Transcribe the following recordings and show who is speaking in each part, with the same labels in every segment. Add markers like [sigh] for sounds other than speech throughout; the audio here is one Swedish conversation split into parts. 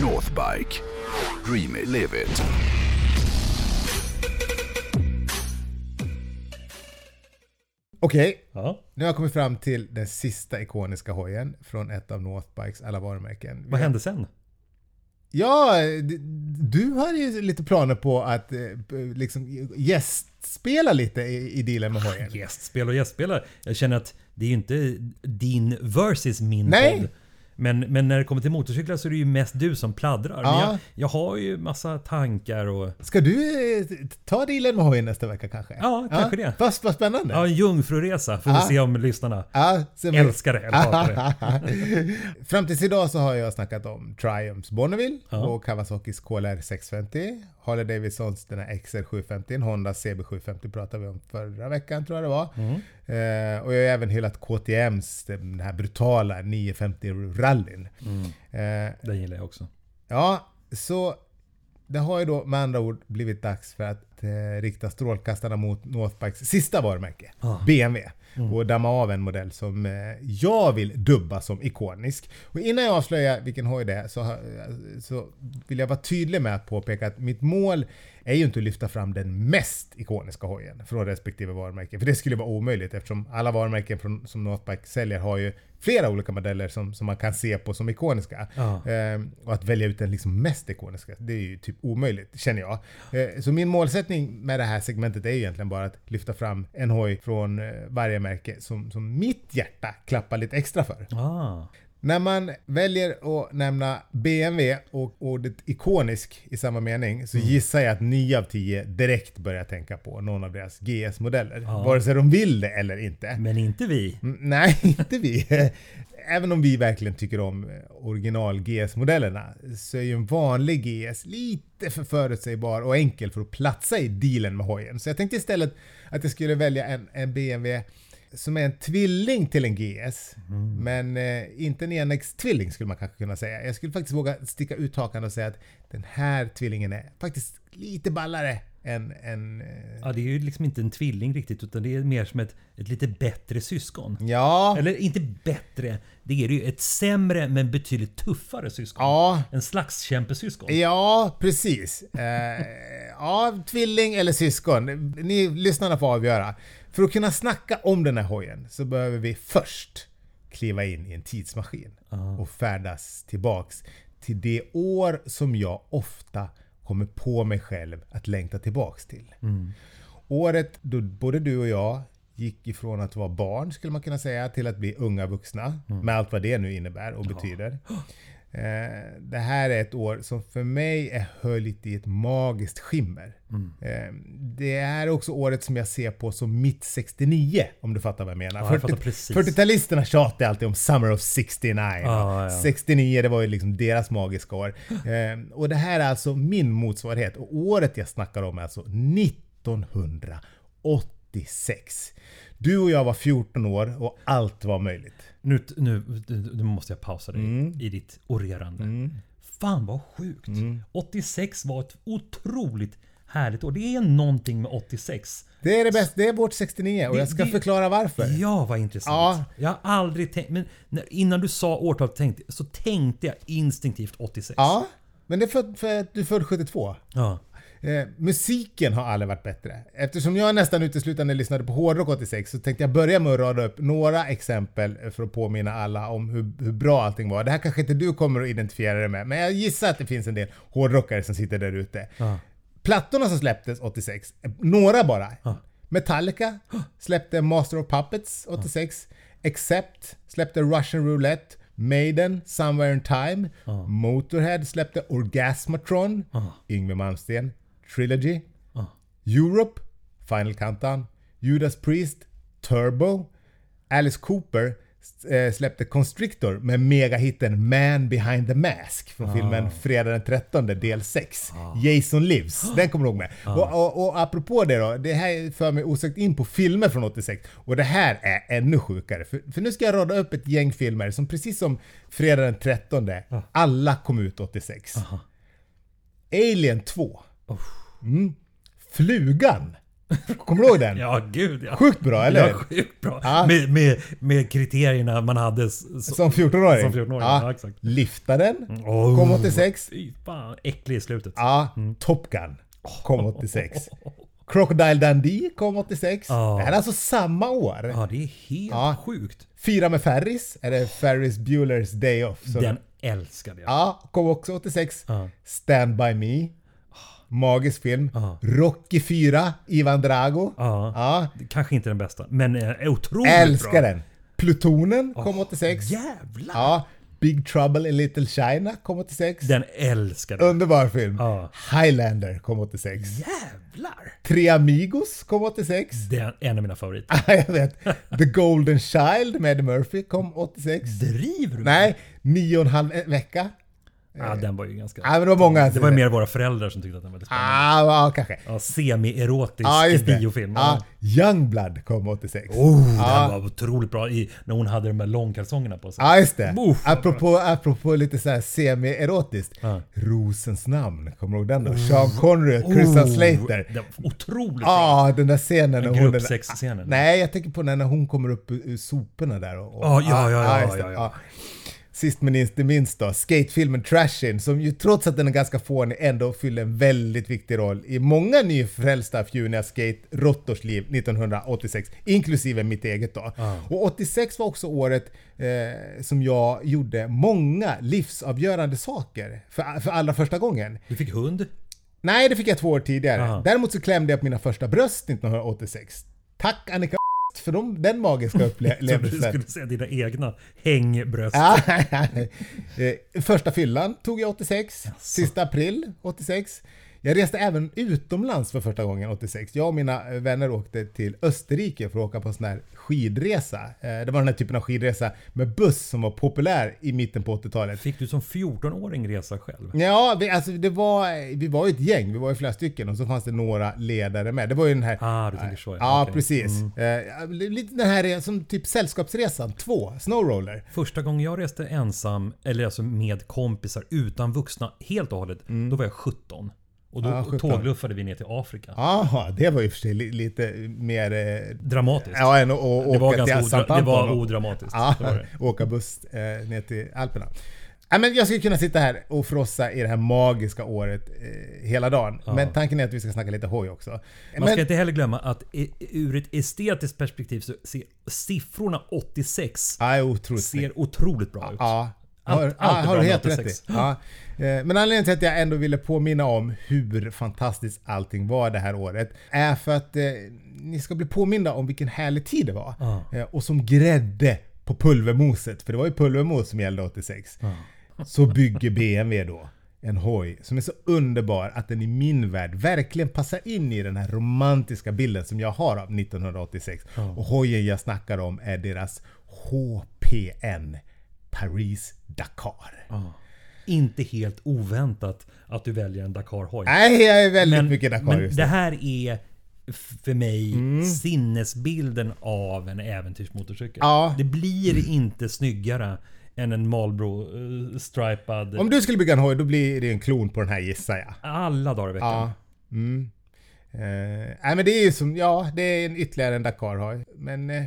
Speaker 1: Northbike. Dream it, live it.
Speaker 2: Okej,
Speaker 3: Ja.
Speaker 2: nu har jag kommit fram till den sista ikoniska hojen från ett av Northbikes alla varumärken.
Speaker 3: Vad hände sen?
Speaker 2: Ja, d- du hade ju lite planer på att eh, liksom gästspela lite i, i dealen
Speaker 3: Ah,
Speaker 2: med hojen.
Speaker 3: Gästspel och gästspelare. Jag känner att det är ju inte din versus min
Speaker 2: Nej.
Speaker 3: podd. Men, men när det kommer till motorcyklar så är det ju mest du som pladdrar. Men
Speaker 2: Ja.
Speaker 3: jag, jag har ju massa tankar och...
Speaker 2: Ska du eh, ta dealen med hojen nästa vecka kanske?
Speaker 3: Ja, kanske det.
Speaker 2: Fast vad spännande.
Speaker 3: Ja, en jungfruresa får vi se om lyssnarna
Speaker 2: Ja, sen-
Speaker 3: älskar det eller hatar
Speaker 2: [laughs]
Speaker 3: det.
Speaker 2: Fram tills idag så har jag snackat om Triumphs Bonneville och Kawasakis KLR 650. Harley Davidsons den här XR 750, Honda CB 750 pratade vi om förra veckan tror jag det var. Eh, och jag har även hyllat KTMs, den här brutala 950-rallyn. Eh,
Speaker 3: Den gillar jag också.
Speaker 2: Ja, så det har ju då med andra ord blivit dags för att eh, rikta strålkastarna mot Northbikes sista varumärke, BMW. Och damma av en modell som eh, jag vill dubba som ikonisk. Och innan jag avslöjar vilken hoj det är så, har- eh, så vill jag vara tydlig med att påpeka att mitt mål är ju inte att lyfta fram den mest ikoniska hojen från respektive varumärke. För det skulle vara omöjligt eftersom alla varumärken från, som Northbike säljer har ju flera olika modeller som, som man kan se på som ikoniska.
Speaker 3: Ja.
Speaker 2: Ehm, och att välja ut den liksom mest ikoniska, det är ju typ omöjligt känner jag. Eh, så min målsättning med det här segmentet är ju egentligen bara att lyfta fram en hoj från eh, varje märke som, som mitt hjärta klappar lite extra för.
Speaker 3: Ah.
Speaker 2: När man väljer att nämna BMW och ordet ikonisk i samma mening så gissar jag att 9 av 10 direkt börjar tänka på någon av deras GS-modeller. Vare sig de vill det eller inte.
Speaker 3: Men inte vi.
Speaker 2: Mm, Nej, [laughs] inte vi. Även om vi verkligen tycker om eh, original GS-modellerna så är ju en vanlig GS lite för förutsägbar och enkel för att platsa i dealen med hojen. Så jag tänkte istället att jag skulle välja en, en BMW som är en tvilling till en GS. Men eh, inte en enäggstvilling skulle man kanske kunna säga. Jag skulle faktiskt våga sticka ut hakan och säga att den här tvillingen är faktiskt lite ballare än, än eh,
Speaker 3: Ja, det är ju liksom inte en tvilling riktigt utan det är mer som ett, ett lite bättre syskon.
Speaker 2: Ja,
Speaker 3: Eller inte bättre, det är det ju. Ett sämre men betydligt tuffare syskon.
Speaker 2: ja,
Speaker 3: En slags kämpesyskon.
Speaker 2: Ja, precis. Eh, ja, tvilling eller syskon. Ni lyssnarna får avgöra. För att kunna snacka om den här hojen så behöver vi först kliva in i en tidsmaskin och färdas tillbaks till det år som jag ofta kommer på mig själv att längta tillbaks till. Året då både du och jag gick ifrån att vara barn skulle man kunna säga till att bli unga vuxna.
Speaker 3: Mm.
Speaker 2: Med allt vad det nu innebär och betyder. Eh, det här är ett år som för mig är höljt i ett magiskt skimmer.
Speaker 3: Mm.
Speaker 2: Eh, det är också året som jag ser på som mitt 69 om du fattar vad jag menar.
Speaker 3: Ja, jag fattar precis.
Speaker 2: 40-talisterna tjatar alltid om Summer of 69.
Speaker 3: Ah, Ja, ja.
Speaker 2: 69 det var ju liksom deras magiska
Speaker 3: [laughs]
Speaker 2: år. Eh, och det här är alltså min motsvarighet. Och året jag snackar om är alltså 1986. Du och jag var 14 år och allt var möjligt.
Speaker 3: Nu, nu, nu måste jag pausa dig
Speaker 2: Mm.
Speaker 3: i ditt orerande. Fan vad sjukt.
Speaker 2: Mm.
Speaker 3: 86 var ett otroligt härligt år. Det är någonting med 86.
Speaker 2: Det är det bästa, det är vårt 69 och
Speaker 3: Det-
Speaker 2: jag ska
Speaker 3: det-
Speaker 2: förklara varför.
Speaker 3: Ja, vad intressant.
Speaker 2: Ja.
Speaker 3: Jag har aldrig tänkt... Men när, innan du sa årtal tänkte, så tänkte jag instinktivt 86.
Speaker 2: Ja, men det är för, för att du är född 72.
Speaker 3: Ja.
Speaker 2: Eh, musiken har aldrig varit bättre. Eftersom jag nästan uteslutande lyssnade på hårdrock 86 så tänkte jag börja med att rada upp några exempel för att påminna alla om hur, hur bra allting var. Det här kanske inte du kommer att identifiera dig med, men jag gissar att det finns en del hårdrockare som sitter där ute. Plattorna som släpptes 86, eh, några bara. Metallica släppte Master of Puppets 86. Accept släppte Russian Roulette. Maiden, Somewhere in Time. Motorhead släppte Orgasmatron. Yngwie Malmsteen, Trilogy. Europe, Final Countdown. Judas Priest, Turbo. Alice Cooper s- eh, släppte Constrictor med megahitten Man behind the mask från filmen Fredag den 13 del 6. Jason Lives, den kommer du ihåg med. Och, och, och apropå det då, det här för mig osökt in på filmer från 86 och det här är ännu sjukare. För, för nu ska jag rada upp ett gäng filmer som precis som Fredag den 13 alla kom ut 86. Alien 2. Mm. Flugan. Kommer du ihåg den?
Speaker 3: Ja, gud ja.
Speaker 2: Sjukt bra, eller?
Speaker 3: Ja, sjukt bra.
Speaker 2: Ja. Alltså-
Speaker 3: Med, med, med kriterierna man hade s- så,
Speaker 2: Som 14-åring?
Speaker 3: Som 14-åring, ja, exakt.
Speaker 2: Liftaren
Speaker 3: Oh. Mm.
Speaker 2: kom 86.
Speaker 3: Fy fan, äcklig i slutet.
Speaker 2: Ja, Top Gun
Speaker 3: [laughs]
Speaker 2: kom 86. Crocodile Dundee kom 86.
Speaker 3: Ja.
Speaker 2: Det här är alltså samma år.
Speaker 3: Ja, det är helt
Speaker 2: Ja.
Speaker 3: sjukt.
Speaker 2: Fira med Ferris, eller Ferris Bueller's Day Off. Så
Speaker 3: Den älskade jag.
Speaker 2: Ja, kom också 86.
Speaker 3: Ja.
Speaker 2: Stand By Me. Magisk film.
Speaker 3: Ja.
Speaker 2: Rocky 4, Ivan Drago.
Speaker 3: Ja.
Speaker 2: Ja.
Speaker 3: Kanske inte den bästa, men eh, otroligt bra.
Speaker 2: Älskar den. Plutonen kom 86.
Speaker 3: Jävlar!
Speaker 2: Ja. Big Trouble in Little China kom 86.
Speaker 3: Den älskade jag.
Speaker 2: Underbar film.
Speaker 3: Ja.
Speaker 2: Highlander kom 86.
Speaker 3: Jävlar!
Speaker 2: Tre Amigos kom 86.
Speaker 3: Det är en av mina favoriter.
Speaker 2: Ja, [laughs] jag vet. The Golden Child med Eddie Murphy kom 86.
Speaker 3: Driver du?
Speaker 2: Nej, nio och en halv vecka.
Speaker 3: Ja, den var ju ganska...
Speaker 2: Ja, Ah, men det var många.
Speaker 3: det var ju mer våra föräldrar som tyckte att den var lite spännande.
Speaker 2: Ah, ja, kanske.
Speaker 3: Ja, semi-erotisk
Speaker 2: Ja, just det. Ah.
Speaker 3: biofilm. Ah.
Speaker 2: Ja, Youngblood kom 86.
Speaker 3: Oh,
Speaker 2: Ah.
Speaker 3: den var otroligt bra i, när hon hade de här långkalsongerna på sig.
Speaker 2: Ja, just det.
Speaker 3: Uff.
Speaker 2: Apropå, apropå lite så här semi-erotiskt. Rosens namn, kommer du ihåg den då? Sean Connery och Christian Slater. Ah.
Speaker 3: Den Oh, var otroligt bra.
Speaker 2: Ja, den där scenen. när hon-
Speaker 3: gruppsexscenen.
Speaker 2: Ah, Nej, jag tänker på den när hon kommer upp ur ur soporna där. och- och-
Speaker 3: Ja, ja, ja,
Speaker 2: ah,
Speaker 3: ja,
Speaker 2: just det.
Speaker 3: ja, ja.
Speaker 2: Ah. Sist men inte minst då, skatefilmen Trashin som ju trots att den är ganska fånig ändå fyller en väldigt viktig roll i många nyfrälsta fjuniga skate-råttors liv 1986, inklusive mitt eget då. Och 86 var också året eh, som jag gjorde många livsavgörande saker för, för allra första gången.
Speaker 3: Du fick hund.
Speaker 2: Nej, det fick jag två år tidigare.
Speaker 3: Aha.
Speaker 2: Däremot så klämde jag på mina första bröst 1986. Tack Annika [laughs] för de, den
Speaker 3: [laughs]
Speaker 2: magiska
Speaker 3: Så du
Speaker 2: upplevelsen.
Speaker 3: skulle säga dina egna hängbröst.
Speaker 2: Ja, [laughs] Eh, första fyllan tog jag 86. Sista april 86. Jag reste även utomlands för första gången 86. Jag och mina vänner åkte till Österrike för att åka på en sån här skidresa. Eh, Det var den här typen av skidresa med buss som var populär i mitten på 80-talet.
Speaker 3: Fick du som 14-åring resa själv?
Speaker 2: Ja, vi, alltså det var, vi var ju ett gäng, vi var ju flera stycken och så fanns det några ledare med. Det var ju den här...
Speaker 3: Ah, du tänker så, ja.
Speaker 2: Ja,
Speaker 3: Okej. Mm.
Speaker 2: precis. Eh, lite den här som typ Sällskapsresan 2, Snowroller.
Speaker 3: Första gången jag reste ensam, eller alltså med kompisar utan vuxna helt och hållet,
Speaker 2: Mm.
Speaker 3: då var jag 17. Och då
Speaker 2: Ah, 17.
Speaker 3: tågluffade vi ner till Afrika.
Speaker 2: Jaha, det var ju för sig li, lite mer... eh,
Speaker 3: Dramatiskt.
Speaker 2: Ja, än att å-
Speaker 3: det, var
Speaker 2: åka till
Speaker 3: ganska odra- det
Speaker 2: Assanpanton
Speaker 3: var
Speaker 2: och-
Speaker 3: odramatiskt.
Speaker 2: Ja,
Speaker 3: Det var det.
Speaker 2: [laughs] åka buss eh, ner till Alperna. Ja, men jag skulle kunna sitta här och frossa i det här magiska året eh, hela dagen. Men tanken är att vi ska snacka lite hoj också.
Speaker 3: Man
Speaker 2: men,
Speaker 3: ska inte heller glömma att i- ur ett estetiskt perspektiv så ser siffrorna 86
Speaker 2: ja, det är otroligt snyggt.
Speaker 3: ser otroligt bra ut.
Speaker 2: Ja.
Speaker 3: Allt-
Speaker 2: Har,
Speaker 3: allt
Speaker 2: ja,
Speaker 3: är
Speaker 2: har
Speaker 3: bra
Speaker 2: du
Speaker 3: med
Speaker 2: helt rätt i.
Speaker 3: 86.
Speaker 2: Ja. Eh, Men anledningen till att jag ändå ville påminna om hur fantastiskt allting var det här året är för att eh, ni ska bli påminna om vilken härlig tid det var. Eh, och som grädde på pulvermoset, för det var ju pulvermos som gällde 86. Så bygger BMW då en hoj som är så underbar att den i min värld verkligen passar in i den här romantiska bilden som jag har av 1986. Och hojen jag snackar om är deras HPN Paris Dakar.
Speaker 3: Inte helt oväntat att du väljer en Dakar-hoj.
Speaker 2: Nej, jag är väldigt mycket Dakar
Speaker 3: men
Speaker 2: just
Speaker 3: det
Speaker 2: nu. Mm.
Speaker 3: här är f- för mig sinnesbilden av en äventyrsmotorcykel.
Speaker 2: Ja.
Speaker 3: Det blir inte snyggare än en eh, Marlboro-stripad
Speaker 2: Om du skulle bygga en hoj då blir det en klon på den här gissar jag.
Speaker 3: alla dagar i veckan.
Speaker 2: Ja. Mm. Eh, nej men det är ju som, ja det är en, ytterligare en Dakar-hoj. Men eh,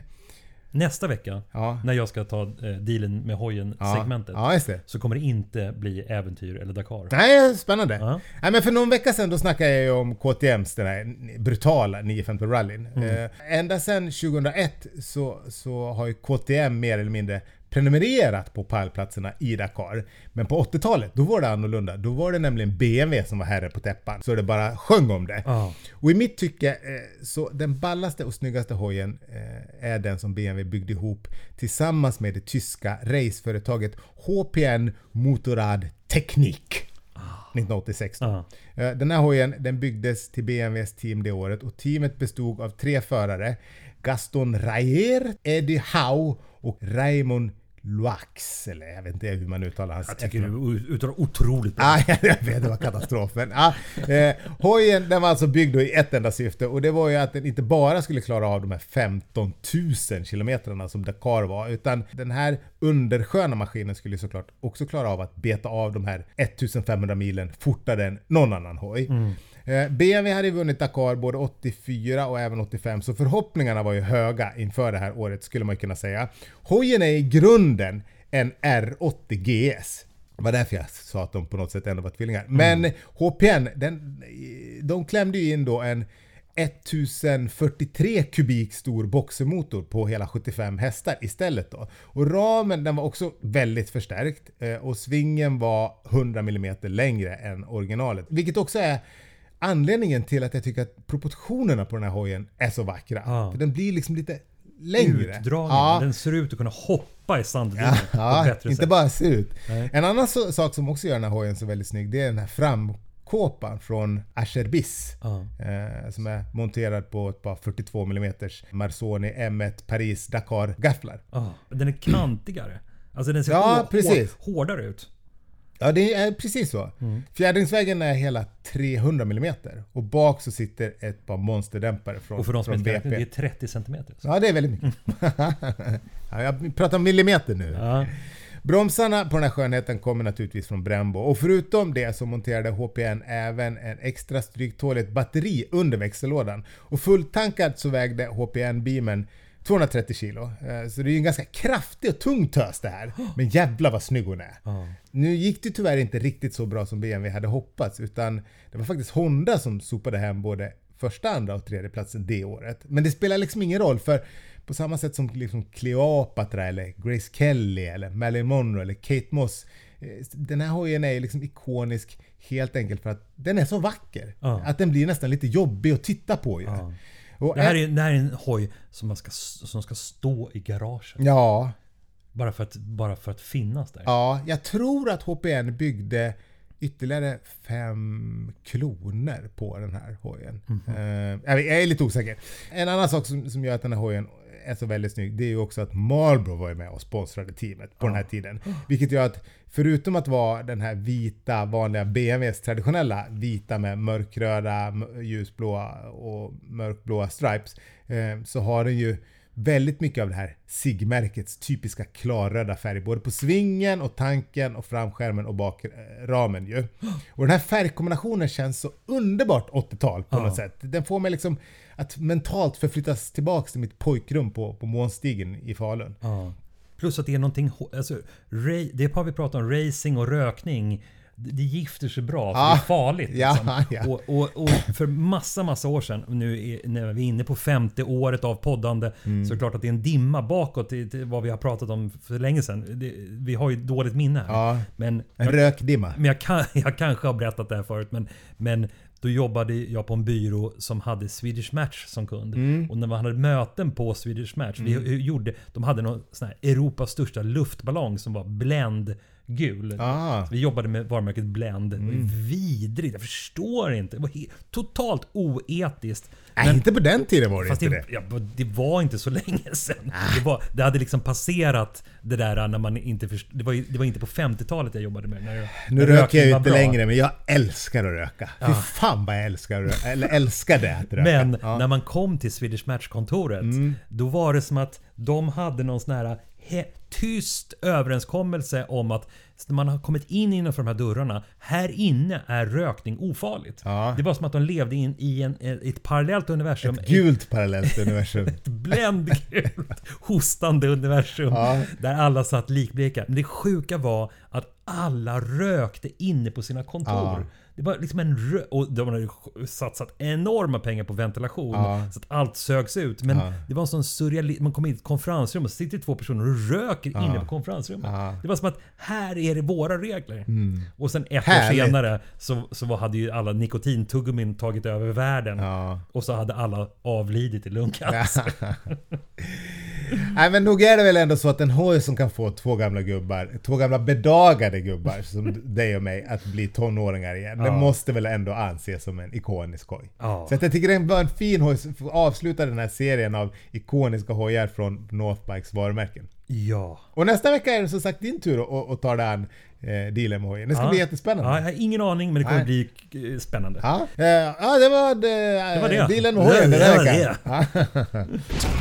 Speaker 3: Nästa vecka,
Speaker 2: Ja.
Speaker 3: när jag ska ta eh, dealen med
Speaker 2: ja.
Speaker 3: hojen-segmentet,
Speaker 2: Ja, just det.
Speaker 3: så kommer det inte bli äventyr eller Dakar.
Speaker 2: Nej, spännande.
Speaker 3: Ja.
Speaker 2: Nej, men för någon vecka sedan då snackade jag ju om KTMs, den här brutala 950 rallyn.
Speaker 3: Mm.
Speaker 2: Eh, ända sedan 2001 så, så har ju KTM mer eller mindre prenumererat på pallplatserna i Dakar. Men på 80-talet, då var det annorlunda. Då var det nämligen BMW som var herre på täppan. Så det bara sjöng om det.
Speaker 3: Ja.
Speaker 2: Och i mitt tycke, eh, så den ballaste och snyggaste hojen eh, är den som BMW byggde ihop tillsammans med det tyska raceföretaget HPN Motorrad Technik.
Speaker 3: Ah.
Speaker 2: 1986 då. Eh, Den här hojen den byggdes till BMWs team det året och teamet bestod av tre förare. Gaston Rayer, Eddie Howe och Raymond Loax. Eller jag vet inte hur man uttalar hans
Speaker 3: Jag tycker du uttalar otroligt bra.
Speaker 2: Ah, [laughs] jag vet, det var katastrofen. Ah, eh, hojen den var alltså byggd då i ett enda syfte och det var ju att den inte bara skulle klara av de här 15 000 kilometrarna som Dakar var utan den här undersköna maskinen skulle ju såklart också klara av att beta av de här 1500 milen fortare än någon annan hoj. Eh, BMW hade ju vunnit Dakar både 84 och även 85 så förhoppningarna var ju höga inför det här året skulle man ju kunna säga. Hojen är i grunden en R80 GS. Det var därför jag sa att de på något sätt ändå var tvillingar. Men HPN, den, de klämde ju in då en 1043 kubik stor boxermotor på hela 75 hästar istället då. Och ramen den var också väldigt förstärkt eh, och svingen var 100 mm längre än originalet. Vilket också är anledningen till att jag tycker att proportionerna på den här hojen är så vackra.
Speaker 3: Ja.
Speaker 2: För den blir liksom lite längre.
Speaker 3: Utdragen.
Speaker 2: Ja.
Speaker 3: Den ser ut att kunna hoppa i sanddynen
Speaker 2: Ja,
Speaker 3: på ett bättre
Speaker 2: inte
Speaker 3: sätt.
Speaker 2: bara se ut. En annan so- sak som också gör den här hojen så väldigt snygg, det är den här framkåpan från Acherbis.
Speaker 3: Ja.
Speaker 2: Eh, som är monterad på ett par 42 mm Marzoni M1 Paris Dakar gafflar.
Speaker 3: Ja, Den är kantigare. Alltså den ser
Speaker 2: Ja,
Speaker 3: hår,
Speaker 2: precis.
Speaker 3: Hår, hårdare ut.
Speaker 2: Ja, det är precis så.
Speaker 3: Mm.
Speaker 2: Fjädringsvägen är hela 300 mm och bak så sitter ett par monsterdämpare från,
Speaker 3: Och för de som
Speaker 2: från
Speaker 3: inte räknar, det är
Speaker 2: BP.
Speaker 3: 30 centimeter.
Speaker 2: Ja, det är väldigt mycket. [laughs] ja, jag pratar millimeter nu.
Speaker 3: Ja.
Speaker 2: Bromsarna på den här skönheten kommer naturligtvis från Brembo och förutom det så monterade HPN även en extra stryktåligt batteri under växellådan. Och fulltankad så vägde HPN-beamen 230 kilo. Eh, Så det är ju en ganska kraftig och tung tös det här. Men jävla vad snygg hon är! Nu gick det tyvärr inte riktigt så bra som BMW hade hoppats utan det var faktiskt Honda som sopade hem både första, andra och tredje platsen det året. Men det spelar liksom ingen roll för på samma sätt som liksom Cleopatra eller Grace Kelly eller Marilyn Monroe eller Kate Moss. eh, Den här hojen är ju liksom ikonisk helt enkelt för att den är så vacker.
Speaker 3: Ja.
Speaker 2: Att den blir nästan lite jobbig att titta på ju. Och
Speaker 3: Det, här är, det här är en hoj som, man ska, som ska stå i garagen.
Speaker 2: Ja,
Speaker 3: Bara, för att, bara för att finnas där.
Speaker 2: ja, jag tror att HPN byggde ytterligare fem kloner på den här hojen. Eh, jag vet- jag är lite osäker. En annan sak som, som gör att den här hojen är så väldigt snygg, det är ju också att Marlboro var ju med och sponsrade teamet på den här tiden. Vilket gör att förutom att vara den här vita vanliga BMWs traditionella vita med mörkröda, m- ljusblåa och mörkblåa stripes eh, så har den ju väldigt mycket av det här SIG-märkets typiska klarröda färg. Både på svingen och tanken och framskärmen och bakramen ju. Och den här färgkombinationen känns så underbart 80-tal på något sätt. Den får mig liksom att mentalt förflyttas tillbaks till mitt pojkrum på, på Månstigen i Falun.
Speaker 3: Ja. Plus att det är någonting... hå- Alltså, ra- det har vi pratat om, racing och rökning. Det det gifter sig bra, för det är farligt.
Speaker 2: Ja,
Speaker 3: liksom.
Speaker 2: ja.
Speaker 3: Och, och, och för massa, massa år sedan, och nu är, när vi är inne på femte året av poddande,
Speaker 2: Mm.
Speaker 3: så är det klart att det är en dimma bakåt till, till vad vi har pratat om för länge sedan. Det, vi har ju dåligt minne här.
Speaker 2: Ja.
Speaker 3: Men
Speaker 2: En rökdimma.
Speaker 3: men jag, kan, [laughs] jag kanske har berättat det här förut, men, men då jobbade jag på en byrå som hade Swedish Match som kund.
Speaker 2: Mm.
Speaker 3: Och när man hade möten på Swedish Match, vi gjorde, de hade någon sån här Europas största luftballong som var bländgul.
Speaker 2: Ah. Mm.
Speaker 3: Så Vi jobbade med varumärket Blend. Det var ju Vidrigt, jag förstår inte. Det var he- totalt oetiskt.
Speaker 2: Nej, inte på den tiden var det
Speaker 3: Fast
Speaker 2: inte det. Ah.
Speaker 3: det, ja, det var inte så [laughs] länge sedan. Det, var, det hade liksom passerat det där när man inte först, det, var, ju- det var inte på 50-talet jag jobbade med. När jag,
Speaker 2: Nu
Speaker 3: när
Speaker 2: röker
Speaker 3: rökning
Speaker 2: jag ju
Speaker 3: var
Speaker 2: inte
Speaker 3: bra.
Speaker 2: längre, men jag älskar att röka. Fy fan vad jag älskar att röka. Eller älskade att röka.
Speaker 3: Men
Speaker 2: ja. Mm.
Speaker 3: när man kom till Swedish Match-kontoret, då var det som att de hade någon sån här he- tyst överenskommelse om att när man har kommit in innanför de här dörrarna, här inne är rökning ofarligt.
Speaker 2: Ja.
Speaker 3: Det var som att de levde in i en, ett parallellt universum. Ett
Speaker 2: Gult parallellt universum.
Speaker 3: bländgult [laughs] hostande universum
Speaker 2: Ja.
Speaker 3: där alla satt likbleka. Men det sjuka var att alla rökte inne på sina kontor.
Speaker 2: Ja.
Speaker 3: Det var liksom en rö- och de hade ju satsat enorma pengar på ventilation
Speaker 2: Ja.
Speaker 3: så att allt sögs ut. Men
Speaker 2: Ja.
Speaker 3: det var en sån surrealism. Man kom in i ett konferensrum och så sitter två personer och röker inne på konferensrummet.
Speaker 2: Ja. Mm.
Speaker 3: Det var som att här är det våra regler. Och sen ett
Speaker 2: Härligt.
Speaker 3: år senare så, så var- hade ju alla nikotintuggummin tagit över världen.
Speaker 2: Ja.
Speaker 3: Och så hade alla avlidit i lungcancer.
Speaker 2: Nej men nog är det väl ändå så att en hoj som kan få två gamla gubbar, två gamla bedagade gubbar som
Speaker 3: [laughs]
Speaker 2: dig och mig att bli tonåringar igen. Det måste väl ändå anses som en ikonisk hoj.
Speaker 3: Ja.
Speaker 2: Så att jag tycker det var en fin hoj som får avsluta den här serien av ikoniska hojar från Northbikes varumärken.
Speaker 3: Ja.
Speaker 2: Och nästa vecka är det som sagt din tur att- att, att ta dig an eh, dealen med hojen. Det ska bli jättespännande.
Speaker 3: Ja, jag har ingen aning men det kommer
Speaker 2: Nej.
Speaker 3: bli eh, spännande.
Speaker 2: Ja, eh, ja det var, det,
Speaker 3: var det.
Speaker 2: dealen med hojen den
Speaker 3: Det
Speaker 2: här
Speaker 3: var
Speaker 2: veckan. Ja.